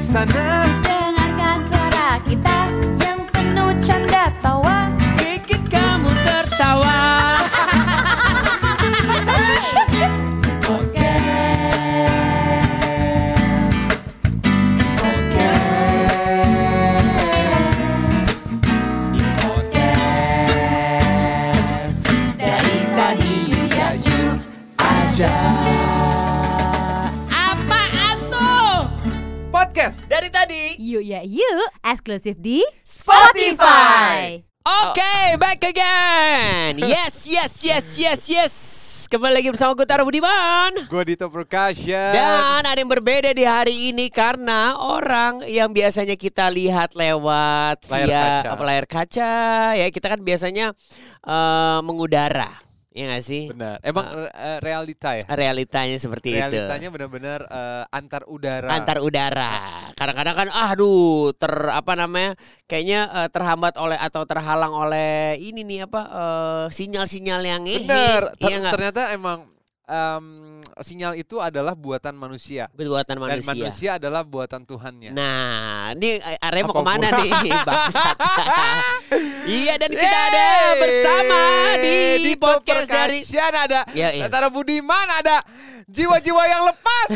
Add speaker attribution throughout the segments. Speaker 1: sana
Speaker 2: Dengarkan suara kita yang penuh canda tawa
Speaker 1: Bikin kamu tertawa
Speaker 2: Dari tadi ya you
Speaker 3: Apaan tuh?
Speaker 1: Podcast
Speaker 3: Dari tadi.
Speaker 2: You ya you Eksklusif di
Speaker 1: Spotify.
Speaker 3: Oke,
Speaker 1: Oh.
Speaker 3: back again. Yes, yes, yes, yes, yes. Kembali lagi bersama Gutara Budiman.
Speaker 1: Gue Dito ya. Percussion
Speaker 3: Dan ada yang berbeda di hari ini karena orang yang biasanya kita lihat lewat
Speaker 1: Layar
Speaker 3: via
Speaker 1: kaca.
Speaker 3: apa, layar kaca, ya kita kan biasanya eh, mengudara, ya nggak sih?
Speaker 1: Benar Emang re-
Speaker 3: Ah.
Speaker 1: eh, realita ya?
Speaker 3: Realitanya seperti itu.
Speaker 1: Realitanya benar-benar eh, antar udara
Speaker 3: Gitu. antar udara. Kadang-kadang kan aduh ter apa namanya? Kayaknya eh, terhambat oleh atau terhalang oleh ini nih apa eh, sinyal-sinyal yang ini.
Speaker 1: Benar Ter-
Speaker 3: Iya nggak?
Speaker 1: Ternyata emang em, sinyal itu adalah buatan manusia
Speaker 3: Buatan
Speaker 1: Dan
Speaker 3: manusia.
Speaker 1: manusia adalah buatan Tuhannya
Speaker 3: Nah, ini eh, Arya mau
Speaker 1: Apa
Speaker 3: kemana
Speaker 1: gua?
Speaker 3: nih? Bangsat. iya dan kita ada
Speaker 1: Yeay!
Speaker 3: bersama di, di
Speaker 1: Dito
Speaker 3: podcast dari
Speaker 1: Percussion ada
Speaker 3: Ya, iya.
Speaker 1: Antara Budiman ada Jiwa-jiwa yang lepas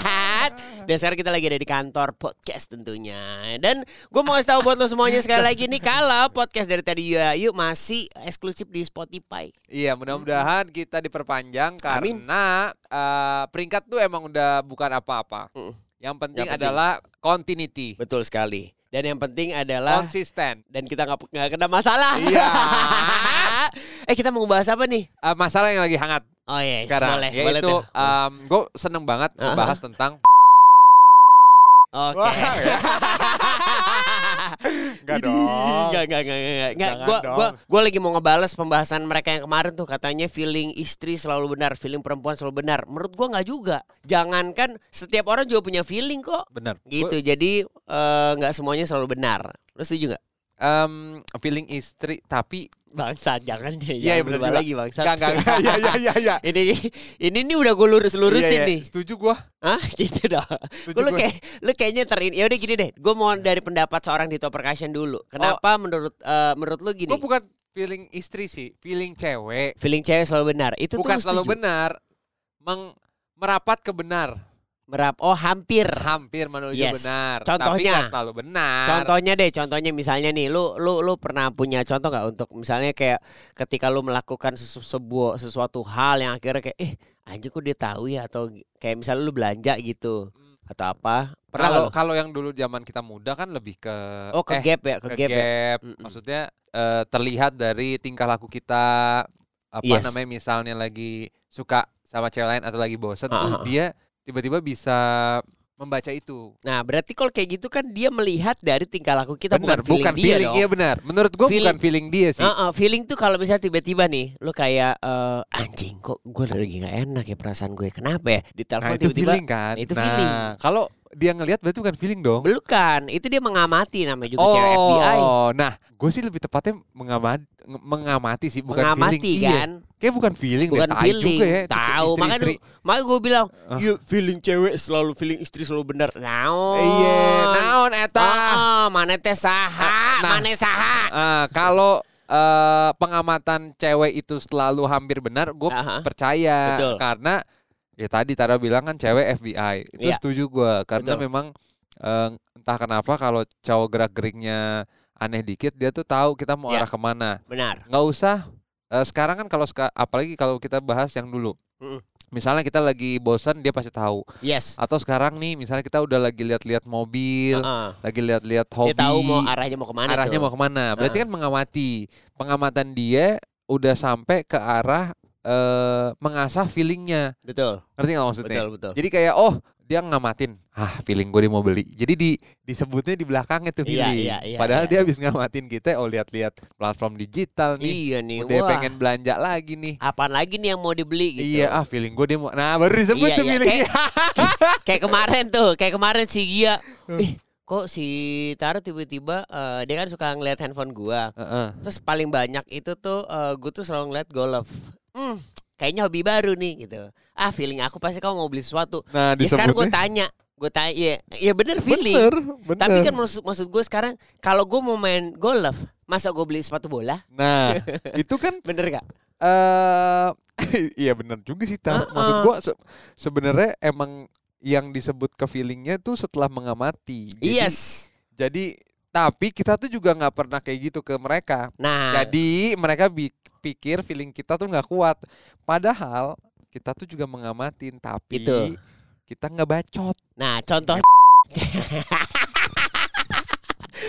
Speaker 3: Dan sekarang kita lagi ada di kantor podcast tentunya Dan gue mau kasih tahu buat lo semuanya sekali lagi nih Kalau podcast dari tadi ya yuk masih eksklusif di Spotify
Speaker 1: Iya, mudah-mudahan kita diperpanjang
Speaker 3: Amin.
Speaker 1: karena eh, peringkat tuh emang udah bukan apa-apa.
Speaker 3: Mm.
Speaker 1: Yang penting
Speaker 3: Yang penting.
Speaker 1: adalah continuity,
Speaker 3: Betul sekali Dan yang penting adalah
Speaker 1: konsisten.
Speaker 3: Dan kita nggak nggak kena masalah
Speaker 1: Iya.
Speaker 3: Eh kita mau bahas apa nih?
Speaker 1: Eh, masalah yang lagi hangat
Speaker 3: Oh iya
Speaker 1: sekarang
Speaker 3: boleh boleh
Speaker 1: yaitu
Speaker 3: tuh.
Speaker 1: gue seneng banget
Speaker 3: Uh-huh.
Speaker 1: membahas tentang
Speaker 3: Oke
Speaker 1: Wah, enggak dong.
Speaker 3: Enggak, enggak, enggak, enggak. Enggak,
Speaker 1: Jangan
Speaker 3: gua,
Speaker 1: dong.
Speaker 3: gua, gua lagi mau ngebales pembahasan mereka yang kemarin tuh katanya feeling istri selalu benar, feeling perempuan selalu benar. Menurut gua nggak juga. Jangankan setiap orang juga punya feeling kok.
Speaker 1: Bener.
Speaker 3: Gitu.
Speaker 1: Gua-
Speaker 3: jadi eh, nggak semuanya selalu benar. Lu setuju nggak?
Speaker 1: em, feeling istri tapi
Speaker 3: Bangsa jangan deh.
Speaker 1: Iya, iya,
Speaker 3: jangan
Speaker 1: bener
Speaker 3: berubah
Speaker 1: juga.
Speaker 3: lagi bangsa.
Speaker 1: enggak enggak enggak. Iya iya iya iya.
Speaker 3: ini ini nih udah gue lurus lurusin
Speaker 1: Iya, iya.
Speaker 3: nih.
Speaker 1: Setuju gua.
Speaker 3: Hah gitu dong.
Speaker 1: Setuju
Speaker 3: Gue lu
Speaker 1: gua.
Speaker 3: kayak lu kayaknya terin. Ya udah gini deh. Gue mau dari pendapat seorang di percussion dulu. Kenapa menurut eh, menurut lu
Speaker 1: Oh.
Speaker 3: gini?
Speaker 1: Gua bukan feeling istri sih, feeling cewek.
Speaker 3: Feeling cewek selalu benar. Itu
Speaker 1: bukan
Speaker 3: tuh
Speaker 1: selalu
Speaker 3: setuju.
Speaker 1: benar. Meng merapat ke benar.
Speaker 3: Merap. Oh hampir.
Speaker 1: hampir menuju
Speaker 3: Yes.
Speaker 1: benar. Tapi
Speaker 3: Contohnya.
Speaker 1: nggak selalu benar.
Speaker 3: Contohnya deh, contohnya misalnya nih, lu lu lu pernah punya contoh nggak untuk misalnya kayak ketika lu melakukan sesu- sebuah sesuatu hal yang akhirnya kayak eh anjir kok dia tahu ya atau gi- kayak misalnya lu belanja gitu
Speaker 1: Hmm.
Speaker 3: atau apa? Pernah
Speaker 1: Kalau
Speaker 3: nggak lu?
Speaker 1: kalau yang dulu zaman kita muda kan lebih ke
Speaker 3: Oh ke
Speaker 1: eh,
Speaker 3: gap ya, ke,
Speaker 1: ke
Speaker 3: gap, ya.
Speaker 1: gap.
Speaker 3: Mm-mm.
Speaker 1: Maksudnya eh, terlihat dari tingkah laku kita apa
Speaker 3: Yes.
Speaker 1: namanya misalnya lagi suka sama cewek lain atau lagi bosen tuh
Speaker 3: Ah.
Speaker 1: dia tiba-tiba bisa membaca itu.
Speaker 3: Nah, berarti kalau kayak gitu kan dia melihat dari tingkah laku kita
Speaker 1: benar,
Speaker 3: bukan feeling dia dong.
Speaker 1: iya benar. Menurut gua
Speaker 3: Feeling-
Speaker 1: bukan feeling dia sih.
Speaker 3: Heeh, feeling tuh kalau misalnya tiba-tiba nih lu kayak eh, anjing kok gue lagi nggak enak ya perasaan gue kenapa ya
Speaker 1: Nah,
Speaker 3: ditelepon
Speaker 1: itu
Speaker 3: tiba-tiba
Speaker 1: feeling kan.
Speaker 3: Nah, itu
Speaker 1: Nah,
Speaker 3: feeling.
Speaker 1: kalau dia ngelihat berarti bukan feeling dong.
Speaker 3: Bukan, itu dia mengamati namanya juga
Speaker 1: Oh,
Speaker 3: cewek FBI.
Speaker 1: nah gue sih lebih tepatnya mengamati, mengamati sih, bukan
Speaker 3: mengamati
Speaker 1: feeling. Iya,
Speaker 3: kan,
Speaker 1: Kayak bukan feeling deh,
Speaker 3: bukan
Speaker 1: tai
Speaker 3: feeling.
Speaker 1: juga ya. itu
Speaker 3: Tahu,
Speaker 1: istri-
Speaker 3: makanya
Speaker 1: istri.
Speaker 3: makanya gue bilang,
Speaker 1: Ah.
Speaker 3: "Iya, feeling cewek selalu feeling istri selalu benar." Naon?
Speaker 1: Iya,
Speaker 3: Oh.
Speaker 1: naon
Speaker 3: Ah,
Speaker 1: eta.
Speaker 3: Heeh, mana teh saha,
Speaker 1: Nah.
Speaker 3: mana saha.
Speaker 1: Ah, kalau eh, pengamatan cewek itu selalu hampir benar, gue
Speaker 3: Aha.
Speaker 1: percaya
Speaker 3: Ah. Betul.
Speaker 1: karena ya tadi Tara bilang kan cewek FBI. Itu
Speaker 3: Iya.
Speaker 1: setuju gue karena
Speaker 3: Betul.
Speaker 1: memang eh, entah kenapa kalau cowok gerak-geriknya aneh dikit dia tuh tahu kita mau
Speaker 3: Iya.
Speaker 1: arah kemana.
Speaker 3: Benar.
Speaker 1: nggak usah eh, sekarang kan kalau seka- apalagi kalau kita bahas yang dulu
Speaker 3: Mm.
Speaker 1: misalnya kita lagi bosan dia pasti tahu
Speaker 3: Yes.
Speaker 1: atau sekarang nih misalnya kita udah lagi lihat-lihat mobil
Speaker 3: Heeh.
Speaker 1: lagi lihat-lihat hobi
Speaker 3: ah. Dia tahu mau arahnya mau kemana
Speaker 1: arahnya
Speaker 3: tuh. Ah.
Speaker 1: mau kemana berarti kan mengamati pengamatan dia udah sampai ke arah eh, mengasah feelingnya
Speaker 3: Betul.
Speaker 1: ngerti nggak maksudnya
Speaker 3: Betul, betul.
Speaker 1: jadi kayak oh dia ngamatin ah feeling gue dia mau beli jadi di disebutnya di belakangnya tuh
Speaker 3: Iya,
Speaker 1: feeling
Speaker 3: iya, iya,
Speaker 1: padahal
Speaker 3: iya.
Speaker 1: dia habis ngamatin kita oh lihat-lihat platform digital nih
Speaker 3: Iya nih,
Speaker 1: Udah
Speaker 3: wah.
Speaker 1: pengen belanja lagi nih.
Speaker 3: Apaan lagi nih yang mau dibeli gitu.
Speaker 1: Iya, ah feeling gue dia mau. Nah, baru disebut
Speaker 3: Iya,
Speaker 1: tuh
Speaker 3: iya.
Speaker 1: feelingnya.
Speaker 3: kayak kemarin tuh, kayak kemarin si Gia.
Speaker 1: Hmm.
Speaker 3: Eh, kok si Taro tiba-tiba eh, dia kan suka ngeliat handphone gua.
Speaker 1: Heeh.
Speaker 3: Terus paling banyak itu tuh eh, gua tuh selalu ngeliat golf. Hmm, kayaknya hobi baru nih gitu. Ah, feeling aku pasti kau mau beli sesuatu.
Speaker 1: Nah,
Speaker 3: Ya sekarang gua
Speaker 1: disebutnya
Speaker 3: tanya, Gue tanya, ya, ya bener feeling.
Speaker 1: Bener, bener.
Speaker 3: Tapi kan maksud, maksud gue sekarang kalau gue mau main golf, masa gue beli sepatu bola?
Speaker 1: nah itu kan
Speaker 3: Bener gak?
Speaker 1: eh iya bener juga sih Tar. Maksud
Speaker 3: Heeh.
Speaker 1: gua se- sebenarnya emang yang disebut ke feelingnya tuh setelah mengamati. Jadi-
Speaker 3: Yes.
Speaker 1: Jadi tapi kita tuh juga nggak pernah kayak gitu ke mereka.
Speaker 3: Nah,
Speaker 1: Jadi mereka bi- pikir feeling kita tuh nggak kuat. Padahal kita tuh juga mengamatin tapi
Speaker 3: Itu.
Speaker 1: kita nggak bacot.
Speaker 3: nah contoh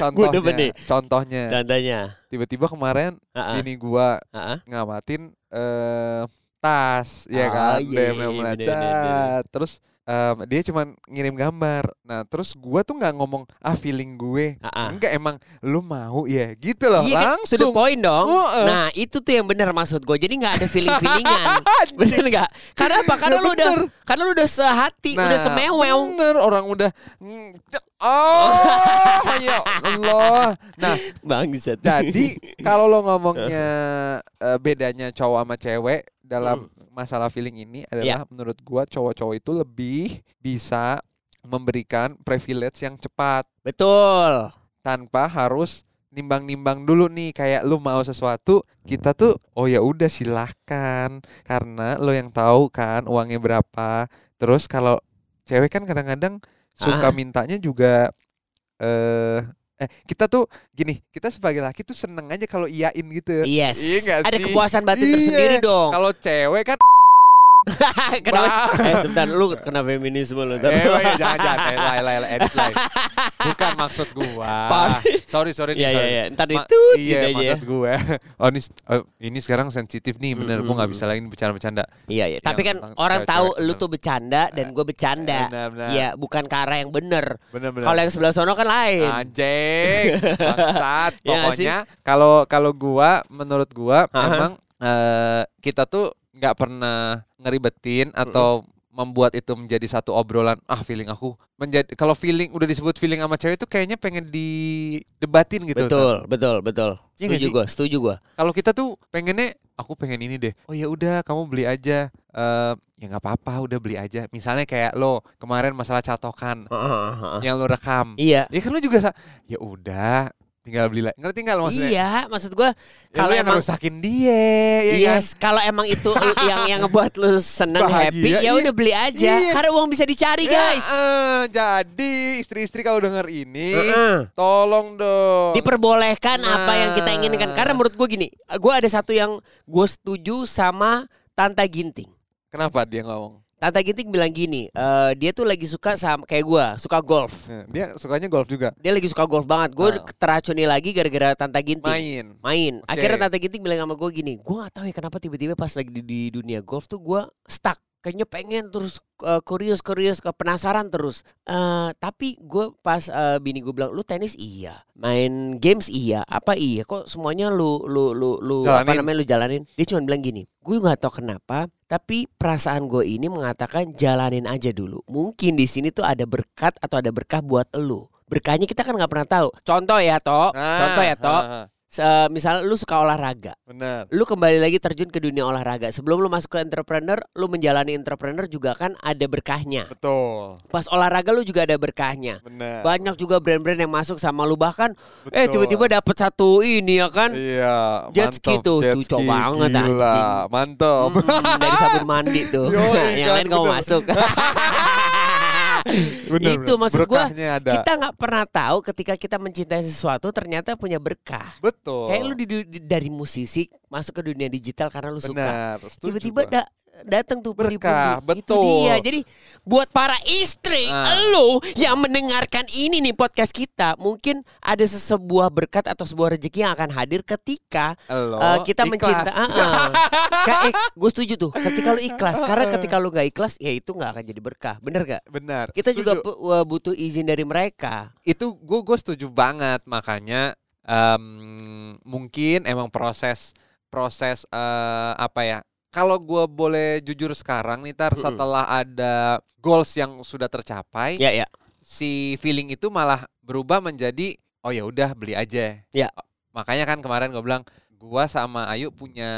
Speaker 1: Contohnya,
Speaker 3: demen nih.
Speaker 1: contohnya
Speaker 3: contohnya.
Speaker 1: tiba-tiba kemarin
Speaker 3: Heeh,
Speaker 1: ini gua
Speaker 3: Ah. heeh.
Speaker 1: ngamatin eh tas ya
Speaker 3: Oh,
Speaker 1: kan
Speaker 3: iya,
Speaker 1: dia
Speaker 3: iya,
Speaker 1: memang
Speaker 3: iya, bener,
Speaker 1: cat.
Speaker 3: bener, bener.
Speaker 1: terus em, dia cuman ngirim gambar nah terus gua tuh nggak ngomong ah feeling gue
Speaker 3: heeh.
Speaker 1: enggak emang lu mau ya gitu loh
Speaker 3: Ah. Iya kan, to the
Speaker 1: langsung
Speaker 3: point dong.
Speaker 1: Heeh.
Speaker 3: Nah itu tuh yang benar maksud gue. Jadi nggak ada feeling feelingan. bener nggak? Karena apa? Karena
Speaker 1: Ya
Speaker 3: lu udah,
Speaker 1: bener.
Speaker 3: karena lu udah sehati, udah semewew.
Speaker 1: Nah, bener orang udah mm, oh ya Allah nah
Speaker 3: Bangsat.
Speaker 1: Jadi kalau lo ngomongnya eh, bedanya cowok sama cewek dalam masalah feeling ini adalah menurut gua cowok-cowok itu lebih bisa memberikan privilege yang cepat
Speaker 3: betul.
Speaker 1: tanpa harus nimbang-nimbang dulu nih kayak lu mau sesuatu kita tuh oh ya udah silahkan karena lo yang tahu kan uangnya berapa terus kalau cewek kan kadang-kadang suka
Speaker 3: Ah.
Speaker 1: mintanya juga eh eh kita tuh gini kita sebagai laki tuh seneng aja kalau iyain gitu
Speaker 3: Yes.
Speaker 1: Iya nggak
Speaker 3: ada
Speaker 1: sih?
Speaker 3: kepuasan batin
Speaker 1: Iya.
Speaker 3: tersendiri dong.
Speaker 1: kalau cewek kan
Speaker 3: Kenapa?
Speaker 1: Bang.
Speaker 3: eh sebentar lu kena feminisme lu. ntar.
Speaker 1: eh woy, jangan jangan eh, lay, lay, lay, edit, lay. bukan maksud gua
Speaker 3: Parah.
Speaker 1: sorry sorry nih,
Speaker 3: Iya iya
Speaker 1: sorry.
Speaker 3: iya. Ntar
Speaker 1: Ma-
Speaker 3: itu
Speaker 1: iya,
Speaker 3: gitu aja.
Speaker 1: maksud gue. Oh, ini, s- eh, ini sekarang sensitif nih, bener. Gue nggak bisa lagi bercanda-bercanda.
Speaker 3: Iya iya.
Speaker 1: Yang
Speaker 3: Tapi kan
Speaker 1: tentang
Speaker 3: orang
Speaker 1: cewek-cewek
Speaker 3: tahu lu
Speaker 1: bener.
Speaker 3: tuh bercanda dan gue bercanda.
Speaker 1: Benar-benar.
Speaker 3: Iya, bukan ke arah yang bener.
Speaker 1: Benar-benar.
Speaker 3: Kalau yang sebelah sono kan
Speaker 1: Nah,
Speaker 3: lain.
Speaker 1: Anjing, bangsat.
Speaker 3: Iya nggak sih?
Speaker 1: Pokoknya kalau kalau gua, menurut gua,
Speaker 3: Aha.
Speaker 1: emang eh, kita tuh nggak pernah ngeribetin atau membuat itu menjadi satu obrolan. Ah, feeling aku menjadi kalau feeling udah disebut feeling sama cewek itu kayaknya pengen didebatin gitu.
Speaker 3: Betul, betul, betul.
Speaker 1: Iya nggak
Speaker 3: Setuju
Speaker 1: sih?
Speaker 3: gue, setuju gue.
Speaker 1: Kalau kita tuh pengennya aku pengen ini deh. Oh ya udah kamu beli aja. Eh ya nggak apa-apa udah beli aja. Misalnya kayak lo kemarin masalah catokan yang lo rekam.
Speaker 3: Iya.
Speaker 1: Ya kan lo juga sa- ya udah tinggal beli lagi. Ngerti nggak lo maksudnya?
Speaker 3: Iya, maksud gue
Speaker 1: Kalau
Speaker 3: kalau
Speaker 1: yang
Speaker 3: emang Iya,
Speaker 1: ngerusakin dia, ya kan?
Speaker 3: Yes, kalau emang itu lu- yang yang ngebuat lu seneng
Speaker 1: Bahagia,
Speaker 3: happy, ya
Speaker 1: iya.
Speaker 3: udah beli aja.
Speaker 1: Iya.
Speaker 3: Karena uang bisa dicari, guys.
Speaker 1: Ya, eh, jadi istri-istri kalau denger ini,
Speaker 3: Heeh.
Speaker 1: tolong dong.
Speaker 3: Diperbolehkan apa yang kita
Speaker 1: iya. Nah.
Speaker 3: inginkan. Karena menurut gue gini, gue ada satu yang gue setuju sama Tanta Ginting.
Speaker 1: Kenapa dia ngomong?
Speaker 3: Tanta Ginting bilang gini, eh, dia tuh lagi suka sama kayak gue, suka golf.
Speaker 1: Eh, Dia sukanya golf juga.
Speaker 3: Dia lagi suka golf banget.
Speaker 1: Ah.
Speaker 3: Gue teracuni lagi gara-gara Tanta Ginting.
Speaker 1: Main.
Speaker 3: main.
Speaker 1: Oke.
Speaker 3: Akhirnya Tante Ginting bilang sama gue gini, gue gak tahu ya kenapa tiba-tiba pas lagi di, di dunia golf tuh gue stuck. Kayaknya pengen terus kurius kurius ke penasaran terus. Eh tapi gue pas eh, bini gue bilang lu tenis iya, main games iya, apa iya kok semuanya lu lu lu lu apa
Speaker 1: Jalanin.
Speaker 3: namanya lu jalanin. Dia cuma bilang gini, gue nggak tahu kenapa tapi perasaan gue ini mengatakan jalanin aja dulu. Mungkin di sini tuh ada berkat atau ada berkah buat elu. Berkahnya kita kan nggak pernah tahu. Contoh ya, Tok. Contoh ya, Tok.
Speaker 1: ah, ah.
Speaker 3: Se- misalnya lu suka olahraga,
Speaker 1: Benar.
Speaker 3: lu kembali lagi terjun ke dunia olahraga. Sebelum lu masuk ke entrepreneur, lu menjalani entrepreneur juga kan ada berkahnya.
Speaker 1: Betul.
Speaker 3: Pas olahraga lu juga ada berkahnya.
Speaker 1: Benar.
Speaker 3: Banyak juga brand-brand yang masuk sama lu bahkan eh
Speaker 1: Betul.
Speaker 3: tiba-tiba dapat satu ini ya kan.
Speaker 1: Iya,
Speaker 3: Jet ski
Speaker 1: mantap,
Speaker 3: tuh,
Speaker 1: jet
Speaker 3: cucok
Speaker 1: ski,
Speaker 3: banget,
Speaker 1: gila,
Speaker 3: anjing.
Speaker 1: mantap.
Speaker 3: Hmm, dari sabun mandi tuh.
Speaker 1: Yoi,
Speaker 3: yang
Speaker 1: kan,
Speaker 3: lain kamu
Speaker 1: bener.
Speaker 3: masuk.
Speaker 1: Bener, bener.
Speaker 3: Itu maksud gua,
Speaker 1: Berkahnya ada.
Speaker 3: kita nggak pernah tahu ketika kita mencintai sesuatu ternyata punya berkah.
Speaker 1: betul.
Speaker 3: Kayak lu di, di- dari musisi masuk ke dunia digital karena lu suka.
Speaker 1: Benar, setuju
Speaker 3: tiba-tiba
Speaker 1: gua.
Speaker 3: da- datang tuh
Speaker 1: Berkah,
Speaker 3: beribu-ribu. Itu
Speaker 1: betul.
Speaker 3: dia. Jadi buat para istri
Speaker 1: Ah.
Speaker 3: lo yang mendengarkan ini nih podcast kita, mungkin ada sebuah berkat atau sebuah rezeki yang akan hadir ketika
Speaker 1: Elo,
Speaker 3: eh, kita
Speaker 1: ikhlas.
Speaker 3: mencinta. Ah, ah. Ka- eh, gue setuju tuh. Ketika lu ikhlas, karena ketika lu nggak ikhlas, ya itu nggak akan jadi berkah. Bener gak?
Speaker 1: Benar.
Speaker 3: Kita juga
Speaker 1: setuju.
Speaker 3: pu- eh, butuh izin dari mereka.
Speaker 1: itu gue gue setuju banget makanya em, mungkin emang proses proses eh, apa ya kalau gue boleh jujur sekarang nih tar
Speaker 3: Mm-mm.
Speaker 1: setelah ada goals yang sudah tercapai
Speaker 3: Ya ya.
Speaker 1: si feeling itu malah berubah menjadi oh ya udah beli aja.
Speaker 3: Ya.
Speaker 1: Makanya kan kemarin gue bilang gua sama Ayu
Speaker 3: Ah.
Speaker 1: punya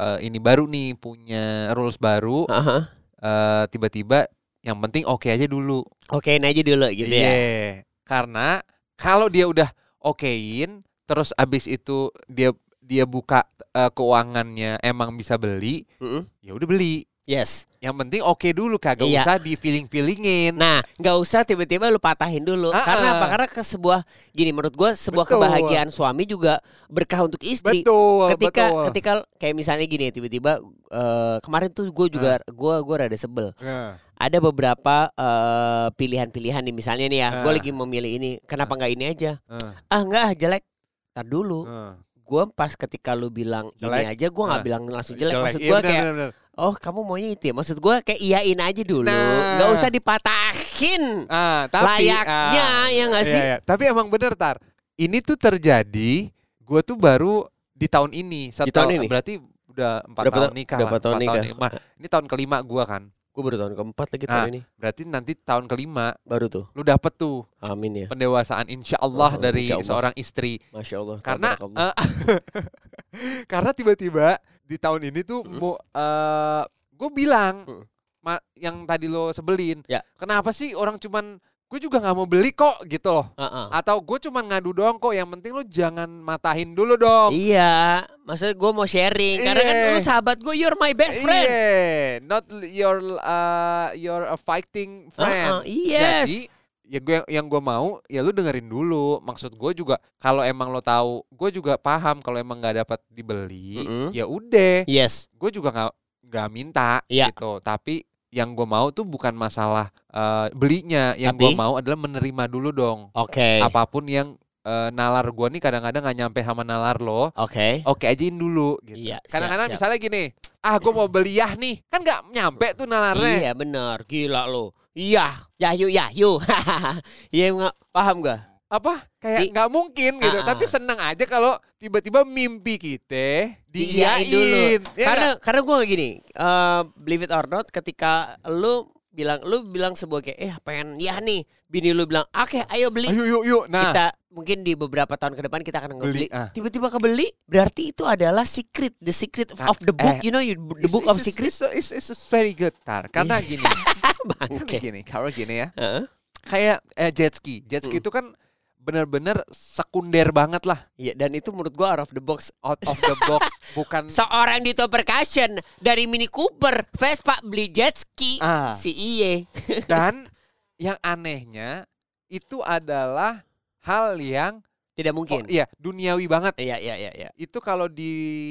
Speaker 1: eh, ini baru nih punya rules baru
Speaker 3: Aha.
Speaker 1: eh, tiba-tiba yang penting oke aja dulu
Speaker 3: Okein aja dulu gitu ya.
Speaker 1: Iya. Karena kalau dia udah okein, terus abis itu dia dia buka eh, keuangannya emang bisa beli,
Speaker 3: Mm-mm.
Speaker 1: ya udah beli.
Speaker 3: Yes.
Speaker 1: Yang penting oke dulu, kagak
Speaker 3: Iya.
Speaker 1: usah di feeling feelingin.
Speaker 3: Nah, nggak usah tiba-tiba lu patahin dulu.
Speaker 1: Ah,
Speaker 3: Karena apa?
Speaker 1: ah.
Speaker 3: Karena ke sebuah gini menurut gua sebuah
Speaker 1: Betul.
Speaker 3: kebahagiaan suami juga berkah untuk istri.
Speaker 1: betul,
Speaker 3: ketika
Speaker 1: betul.
Speaker 3: ketika kayak misalnya gini tiba-tiba eh, kemarin tuh gue juga gue gue rada sebel
Speaker 1: Nah,
Speaker 3: ada beberapa eh, pilihan-pilihan nih misalnya nih ya gue
Speaker 1: Ah.
Speaker 3: lagi memilih ini kenapa nggak ini aja
Speaker 1: eh,
Speaker 3: ah nggak ah, jelek Ntar dulu
Speaker 1: eh.
Speaker 3: gue pas ketika lu bilang
Speaker 1: Jelek.
Speaker 3: ini aja gue nggak
Speaker 1: Ah.
Speaker 3: bilang langsung jelek, maksud
Speaker 1: Iya,
Speaker 3: gue
Speaker 1: benar,
Speaker 3: kayak
Speaker 1: benar, benar.
Speaker 3: oh kamu maunya itu ya maksud gue kayak iyain aja dulu
Speaker 1: Nah.
Speaker 3: nggak usah dipatahin
Speaker 1: Ah, tapi
Speaker 3: layaknya
Speaker 1: ah,
Speaker 3: ya nggak
Speaker 1: iya,
Speaker 3: sih
Speaker 1: iya. Tapi emang bener tar. Ini tuh terjadi, gue tuh baru di tahun ini. Satu
Speaker 3: Di tahun ini?
Speaker 1: Berarti udah empat
Speaker 3: Berapa
Speaker 1: tahun
Speaker 3: ta-
Speaker 1: nikah
Speaker 3: berapa
Speaker 1: lah.
Speaker 3: tahun
Speaker 1: empat
Speaker 3: nikah?
Speaker 1: Nah, ini tahun kelima gue kan.
Speaker 3: gue baru tahun keempat lagi
Speaker 1: tahun
Speaker 3: ini
Speaker 1: Berarti nanti tahun kelima
Speaker 3: baru tuh
Speaker 1: lu dapet tuh
Speaker 3: amin ya
Speaker 1: pendewasaan insya Allah
Speaker 3: Oh,
Speaker 1: dari
Speaker 3: insya Allah.
Speaker 1: seorang istri.
Speaker 3: masya allah
Speaker 1: Karena eh, karena tiba-tiba di tahun ini tuh
Speaker 3: Mm.
Speaker 1: mau gue bilang
Speaker 3: Mm.
Speaker 1: ma- yang tadi lo sebelin,
Speaker 3: Ya.
Speaker 1: kenapa sih orang cuman gue juga nggak mau beli kok gitu loh.
Speaker 3: Oh.
Speaker 1: Atau gue cuman ngadu doang kok. Yang penting lu jangan matahin dulu dong.
Speaker 3: Iya, maksudnya gue mau sharing karena kan
Speaker 1: oh. Iya.
Speaker 3: lu sahabat gue, you're my best friend.
Speaker 1: Iya, not your uh, your a fighting
Speaker 3: Uh-uh,
Speaker 1: friend.
Speaker 3: yes.
Speaker 1: Jadi ya gue yang gue mau ya lu dengerin dulu. Maksud gue juga kalau emang lo tahu, gue juga paham kalau emang nggak dapat dibeli,
Speaker 3: Mm-mm.
Speaker 1: ya udah.
Speaker 3: yes.
Speaker 1: Gue juga nggak nggak minta
Speaker 3: Iya.
Speaker 1: gitu. Tapi yang gue mau tuh bukan masalah uh, belinya. Yang
Speaker 3: Tapi?
Speaker 1: gue mau adalah menerima dulu dong.
Speaker 3: Oke.
Speaker 1: Apapun yang uh, nalar gue nih kadang-kadang nggak nyampe sama nalar lo.
Speaker 3: Oke.
Speaker 1: oke ajain dulu gitu.
Speaker 3: Iya. siap,
Speaker 1: Kadang-kadang
Speaker 3: siap.
Speaker 1: misalnya gini, ah gue mau beli yah nih, kan nggak nyampe tuh nalarnya.
Speaker 3: Iya benar, gila lo. Iya, Yahyu Yahyu. Iya nggak paham gak?
Speaker 1: Apa?
Speaker 3: Di-
Speaker 1: Kayak nggak mungkin gitu.
Speaker 3: Ah, ah.
Speaker 1: Tapi seneng aja kalau tiba-tiba mimpi kita diiyain.
Speaker 3: Diiyain dulu.
Speaker 1: Iya
Speaker 3: karena
Speaker 1: nggak?
Speaker 3: karena gue gini, eh, believe it or not, ketika lu bilang lu bilang sebuah kayak eh pengen ya nih, bini lu bilang oke ayo beli.
Speaker 1: Ayo yuk yuk. Nah,
Speaker 3: kita mungkin di beberapa tahun ke depan kita akan
Speaker 1: Beli,
Speaker 3: ngebeli.
Speaker 1: ah.
Speaker 3: Tiba-tiba kebeli, berarti itu adalah secret, the secret
Speaker 1: Ah,
Speaker 3: of the book.
Speaker 1: eh,
Speaker 3: you know, you, the book of secret. Iya.
Speaker 1: It's, it's, it's, it's very good tar. Karena gini, karena
Speaker 3: Bangke.
Speaker 1: gini, karena gini ya.
Speaker 3: Heeh.
Speaker 1: Kayak eh, jet ski, jet ski itu kan bener-bener sekunder banget lah
Speaker 3: Iya, dan itu menurut gua out of the box.
Speaker 1: out of the box bukan
Speaker 3: Seorang Dito Percussion dari Mini Cooper, Vespa beli jet ski.
Speaker 1: Ah.
Speaker 3: Si Iye.
Speaker 1: Dan yang anehnya itu adalah hal yang
Speaker 3: Tidak
Speaker 1: oh,
Speaker 3: mungkin.
Speaker 1: iya duniawi banget.
Speaker 3: Iya, iya, iya, iya.
Speaker 1: Itu kalau di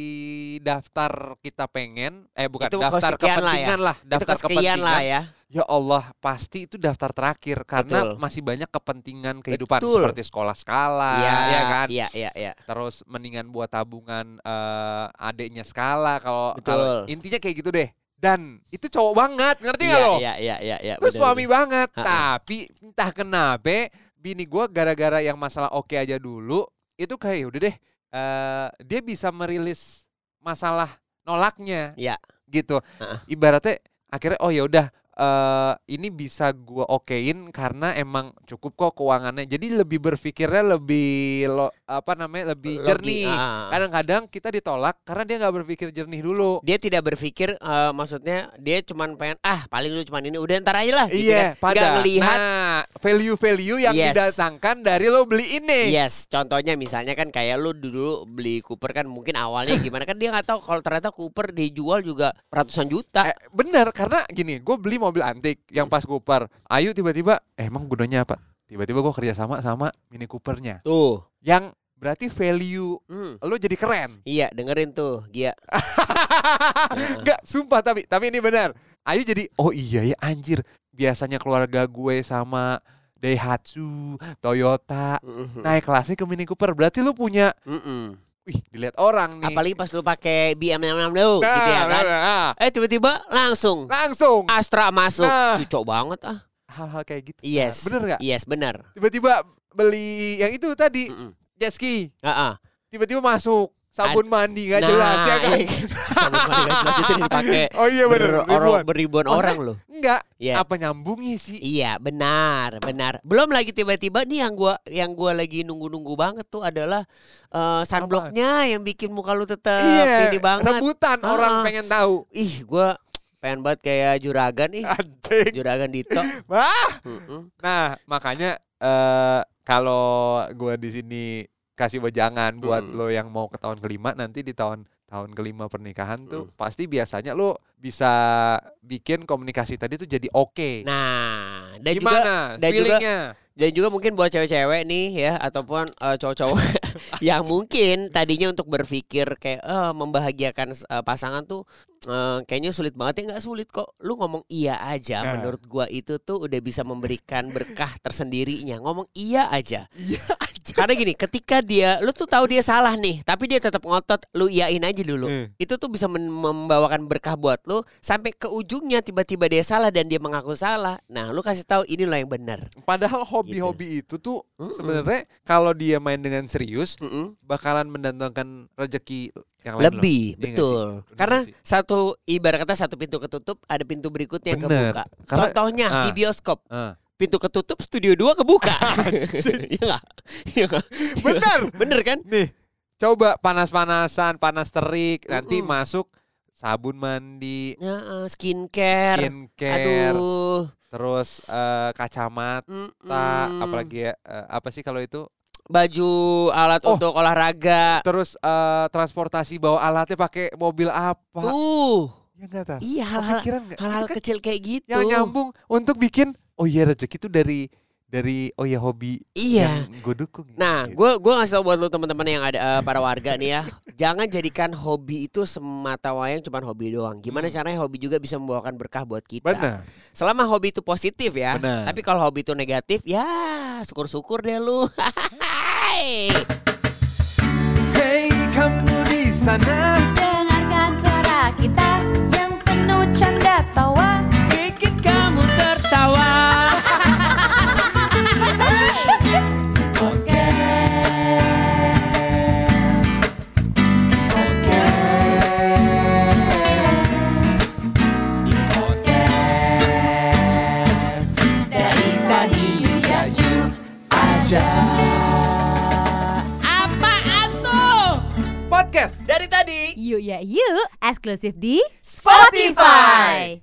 Speaker 1: daftar kita pengen eh bukan
Speaker 3: Itu
Speaker 1: daftar
Speaker 3: kesekian lah ya.
Speaker 1: kepentingan lah,
Speaker 3: Itu
Speaker 1: daftar
Speaker 3: kesekian lah ya.
Speaker 1: Ya Allah, pasti itu daftar terakhir karena
Speaker 3: Betul.
Speaker 1: masih banyak kepentingan kehidupan
Speaker 3: Betul.
Speaker 1: seperti sekolah skala
Speaker 3: Iya,
Speaker 1: ya kan.
Speaker 3: Iya, iya, iya.
Speaker 1: Terus mendingan buat tabungan eh, adeknya skala kalau
Speaker 3: Betul.
Speaker 1: kalau- intinya kayak gitu deh. Dan itu cowok banget, ngerti
Speaker 3: Iya,
Speaker 1: nggak lo?
Speaker 3: iya, iya, iya, iya.
Speaker 1: Itu
Speaker 3: bener,
Speaker 1: suami
Speaker 3: bener.
Speaker 1: banget,
Speaker 3: Ha-ha.
Speaker 1: tapi entah kenapa bini gua gara-gara yang masalah oke aja dulu itu kayak "Ya udah deh eh, dia bisa merilis masalah nolaknya.
Speaker 3: Iya.
Speaker 1: Gitu.
Speaker 3: Ha-ha.
Speaker 1: Ibaratnya akhirnya oh ya udah eh, ini bisa gua okein karena emang cukup kok keuangannya. Jadi lebih berpikirnya lebih lo, apa namanya lebih
Speaker 3: Logi,
Speaker 1: jernih. Kan
Speaker 3: ah.
Speaker 1: Kadang-kadang kita ditolak karena dia nggak berpikir jernih dulu.
Speaker 3: dia tidak berpikir eh, maksudnya dia cuman pengen ah paling lu cuman ini udah ntar aja lah gitu
Speaker 1: Iya,
Speaker 3: kan.
Speaker 1: pada
Speaker 3: Nggak ngelihat
Speaker 1: Nah, value-value yang
Speaker 3: Yes. Iya.
Speaker 1: didatangkan dari lo beli ini.
Speaker 3: Yes, contohnya misalnya kan kayak lu dulu beli Cooper kan mungkin awalnya gimana kan dia nggak tahu kalau ternyata Cooper dijual juga ratusan juta.
Speaker 1: Eh, bener karena gini, gue beli mobil antik yang pas Cooper. Ayu tiba-tiba, "Eh, emang gunanya apa? Tiba-tiba gue kerja sama sama Mini Coopernya.
Speaker 3: Tuh.
Speaker 1: Yang berarti value
Speaker 3: Hmm.
Speaker 1: lo jadi keren.
Speaker 3: Iya, dengerin tuh, Gia.
Speaker 1: Enggak, sumpah tapi tapi ini benar. Ayu jadi, "Oh iya ya anjir. Biasanya keluarga gue sama Daihatsu, Toyota, naik kelasnya ke Mini Cooper. Berarti lu punya,
Speaker 3: Mm-mm.
Speaker 1: wih, dilihat orang nih."
Speaker 3: Apalagi pas lu pakai BM66 dulu
Speaker 1: Nah,
Speaker 3: gitu ya kan.
Speaker 1: nah, nah.
Speaker 3: Eh tiba-tiba langsung
Speaker 1: langsung
Speaker 3: Astra masuk.
Speaker 1: Nah.
Speaker 3: Cucok banget ah.
Speaker 1: hal-hal kayak gitu.
Speaker 3: Yes.
Speaker 1: Bener nggak?
Speaker 3: Yes, benar.
Speaker 1: Tiba-tiba beli yang itu tadi
Speaker 3: Mm-mm.
Speaker 1: jet ski,
Speaker 3: Ah, ah.
Speaker 1: tiba-tiba masuk sabun mandi nggak
Speaker 3: Nah,
Speaker 1: jelas ya kan?
Speaker 3: iya. Sabun mandi nggak jelas itu dipakai
Speaker 1: Oh iya bener,
Speaker 3: ber- orang
Speaker 1: ribuan.
Speaker 3: beribuan
Speaker 1: Maksudnya-
Speaker 3: orang loh.
Speaker 1: Enggak,
Speaker 3: Iya.
Speaker 1: apa nyambungnya sih?
Speaker 3: Iya, benar, benar. Belum lagi tiba-tiba nih yang gua yang gua lagi nunggu-nunggu banget tuh adalah eh, sunblocknya yang bikin muka lu tetap ini banget.
Speaker 1: Iya, rebutan orang
Speaker 3: Ah.
Speaker 1: pengen tahu.
Speaker 3: Ih, gua pengen banget kayak juragan ih
Speaker 1: Anjing.
Speaker 3: juragan Dito
Speaker 1: Wah.
Speaker 3: Mm-mm.
Speaker 1: Nah, makanya eh kalau gua di sini kasih wejangan buat
Speaker 3: Mm.
Speaker 1: lo yang mau ke tahun kelima nanti di tahun tahun kelima pernikahan tuh
Speaker 3: Hmm.
Speaker 1: pasti biasanya lo bisa bikin komunikasi tadi tuh jadi oke.
Speaker 3: nah dan juga
Speaker 1: Gimana
Speaker 3: dan juga-
Speaker 1: feelingnya?
Speaker 3: Dan juga mungkin buat cewek-cewek nih ya ataupun eh, cowok-cowok yang mungkin tadinya untuk berpikir kayak eh, membahagiakan eh, pasangan tuh eh, kayaknya sulit banget ya nggak sulit kok. Lu ngomong iya aja
Speaker 1: Nah.
Speaker 3: menurut gua itu tuh udah bisa memberikan berkah tersendirinya. Ngomong iya aja.
Speaker 1: Iya aja.
Speaker 3: Karena gini, ketika dia lu tuh tahu dia salah nih, tapi dia tetap ngotot, lu iyain aja dulu.
Speaker 1: Eh.
Speaker 3: Itu tuh bisa men- membawakan berkah buat lu sampai ke ujungnya tiba-tiba dia salah dan dia mengaku salah. Nah, lu kasih tahu ini loh yang benar.
Speaker 1: Padahal hobi-hobi itu
Speaker 3: Gitu.
Speaker 1: tuh sebenarnya kalau dia main dengan serius
Speaker 3: Mm-mm.
Speaker 1: bakalan mendatangkan rezeki yang lain. loh.
Speaker 3: lebih
Speaker 1: Iya nggak
Speaker 3: betul
Speaker 1: sih? Bener
Speaker 3: karena
Speaker 1: sih.
Speaker 3: satu ibarat kata satu pintu ketutup ada pintu berikutnya yang
Speaker 1: Bener.
Speaker 3: kebuka
Speaker 1: Karena-
Speaker 3: contohnya di
Speaker 1: ah.
Speaker 3: bioskop
Speaker 1: Ah.
Speaker 3: pintu ketutup studio 2 kebuka iya nggak? Iya nggak?
Speaker 1: Bener.
Speaker 3: bener kan
Speaker 1: Nih, coba panas-panasan, panas terik, nanti
Speaker 3: Mm-mm.
Speaker 1: masuk sabun mandi,
Speaker 3: ya, eh, skincare.
Speaker 1: skincare,
Speaker 3: aduh
Speaker 1: terus eh, kacamata,
Speaker 3: Mm-mm.
Speaker 1: apalagi ya, eh, apa sih kalau itu?
Speaker 3: baju alat
Speaker 1: Oh.
Speaker 3: untuk olahraga
Speaker 1: Terus eh, transportasi bawa alatnya pakai mobil apa?
Speaker 3: uh
Speaker 1: Ya enggak tar.
Speaker 3: iya hal-hal
Speaker 1: Kepikiran nggak?
Speaker 3: hal-hal
Speaker 1: Itu kan
Speaker 3: kecil kayak gitu
Speaker 1: yang nyambung untuk bikin oh iya rezeki itu dari dari oh ya hobi
Speaker 3: iya
Speaker 1: yang gue dukung. ya.
Speaker 3: Nah,
Speaker 1: Gitu.
Speaker 3: gue gua ngasih tau buat lo teman-teman yang ada eh, para warga nih ya, jangan jadikan hobi itu semata wayang cuman hobi doang. Gimana
Speaker 1: Hmm.
Speaker 3: caranya hobi juga bisa membawakan berkah buat kita?
Speaker 1: benar.
Speaker 3: Selama hobi itu positif ya,
Speaker 1: Benar.
Speaker 3: tapi kalau hobi itu negatif, ya syukur-syukur deh lu. Hai.
Speaker 1: Hey kamu di sana.
Speaker 2: Dengarkan suara kita yang penuh canda tawa
Speaker 3: Bikin kamu tertawa.
Speaker 2: Dari tadi ya you
Speaker 3: Apaan tuh?
Speaker 1: Podcast
Speaker 3: Dari tadi.
Speaker 4: Yuk ya yuk, eksklusif di
Speaker 3: Spotify.